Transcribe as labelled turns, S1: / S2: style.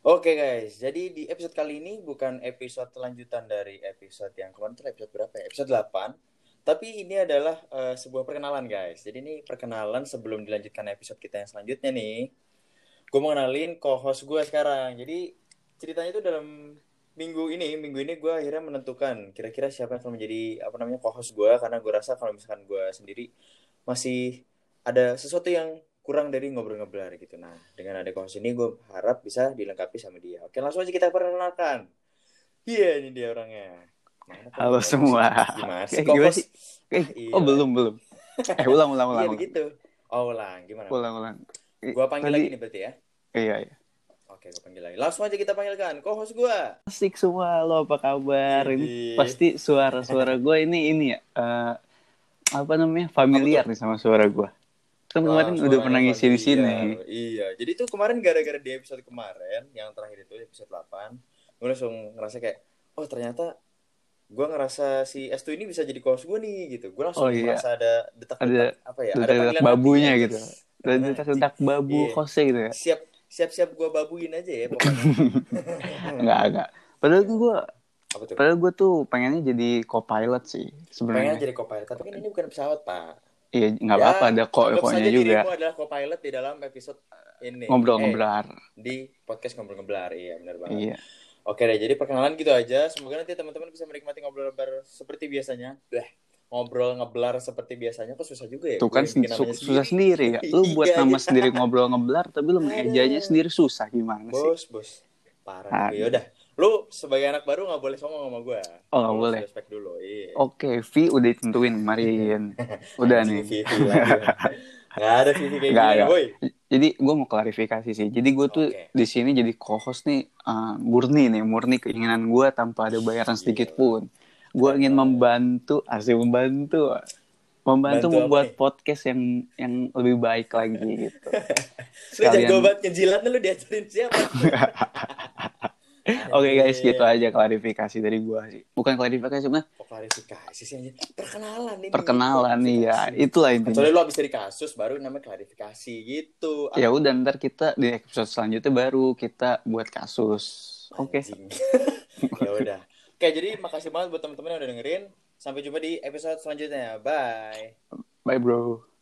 S1: Oke guys, jadi di episode kali ini bukan episode lanjutan dari episode yang kemarin itu episode berapa ya? Episode 8. Tapi ini adalah eh, sebuah perkenalan guys. Jadi ini perkenalan sebelum dilanjutkan episode kita yang selanjutnya nih. Gue mau kenalin co-host gue sekarang. Jadi ceritanya itu dalam minggu ini, minggu ini gue akhirnya menentukan kira-kira siapa yang akan menjadi apa namanya co-host gue karena gue rasa kalau misalkan gue sendiri masih ada sesuatu yang kurang dari ngobrol-ngobrol gitu. Nah, dengan ada co-host ini gue harap bisa dilengkapi sama dia. Oke, langsung aja kita perkenalkan. Iya, ini dia orangnya. Nah, Mana kok
S2: Halo
S1: co-host?
S2: semua.
S1: Gimana sih
S2: Eh, gimana
S1: co-host?
S2: sih? Eh,
S1: Iya.
S2: oh belum belum. Eh
S1: Iya
S2: ulang ulang ulang ulang.
S1: begitu. Oh, ulang. Gimana?
S2: Ulang ulang. Eh,
S1: Gua panggil
S2: tadi-
S1: lagi nih berarti ya.
S2: Iya iya.
S1: Oke, gua panggil lagi. Langsung aja kita panggilkan co-host gua.
S2: Asik semua lo apa kabar? Ini
S1: Widih.
S2: pasti suara-suara gue ini ini ya eh, apa namanya familiar nih sama suara gue. Kan
S1: Wah,
S2: kemarin udah
S1: Oh, suaranya
S2: pernah ngisi di sini.
S1: familiar. ya. Iya, jadi itu kemarin gara-gara di episode kemarin yang terakhir itu episode 8, gue langsung ngerasa kayak oh ternyata gue ngerasa si S2 ini bisa jadi co-host gue nih gitu. Gue langsung
S2: Oh, iya.
S1: ngerasa ada detak-detak apa ya? Ada
S2: Detak
S1: panggilan
S2: babunya
S1: hati ya.
S2: gitu. Detak babu
S1: Iya.
S2: Jose gitu ya.
S1: Siap siap-siap gue babuin aja ya pokoknya. Iya.
S2: Enggak enggak. Padahal tuh gue
S1: apa tuh?
S2: padahal gue tuh pengennya jadi co-pilot sih
S1: Pengen
S2: sebenarnya.
S1: jadi co-pilot, tapi kan ini bukan pesawat, Pak. Ya,
S2: Iya Hmm. nggak apa-apa ada
S1: anggap
S2: ko-ko-nya
S1: saja
S2: juga.
S1: dirimu adalah co-pilot di dalam episode ini. Eh,
S2: Ngobrol-ngobrol.
S1: di podcast ngobrol-ngobrolar. Iya, benar banget.
S2: Iya.
S1: Oke deh, jadi perkenalan gitu aja. Semoga nanti teman-teman bisa menikmati ngobrol ngobrol seperti biasanya. Blah, ngobrol ngeblar seperti biasanya kok susah juga ya.
S2: Tuh
S1: Gue
S2: kan
S1: yang bikin
S2: su-
S1: namanya
S2: susah sendiri ya. Lu buat
S1: Iya,
S2: nama
S1: iya.
S2: sendiri ngobrol ngeblar tapi lu mengejanya sendiri susah gimana sih? Ah.
S1: Bos, bos. Parah.
S2: Aduh.
S1: Ya udah. Lu sebagai anak baru nggak boleh songong sama gue.
S2: Oh, nggak boleh.
S1: Respect dulu. Iya.
S2: Oke, V udah ditentuin kemarin. Udah
S1: Anjing,
S2: nih.
S1: Vivi lagi. Nggak ada Vivi kayak
S2: Nggak
S1: gini,
S2: ada.
S1: boy.
S2: Jadi gue mau klarifikasi sih. Jadi gue tuh
S1: Oke.
S2: di sini jadi co-host nih eh, murni nih, murni keinginan gue tanpa ada
S1: Iya.
S2: bayaran sedikit pun. Gue ingin membantu, asli membantu,
S1: Bantu
S2: membantu
S1: apa
S2: membuat
S1: nih?
S2: podcast yang yang lebih baik lagi gitu.
S1: Lu jago
S2: Sekalian
S1: banget ngejilat lu diajarin siapa? iya.
S2: Oke guys, gitu aja klarifikasi dari gua sih. Bukan klarifikasi sebenarnya
S1: Kok klarifikasi sih anjing? Perkenalan ini.
S2: perkenalan ya.
S1: Klarifikasi.
S2: Itulah
S1: Iya, Kecuali
S2: intinya.
S1: lu habis dari kasus baru namanya klarifikasi gitu.
S2: Ya udah ntar kita di episode selanjutnya baru kita buat kasus. Oke.
S1: Anjing. ya udah. Oke, jadi makasih banget buat teman-teman yang udah dengerin. Sampai jumpa di episode selanjutnya. Bye.
S2: Bye bro.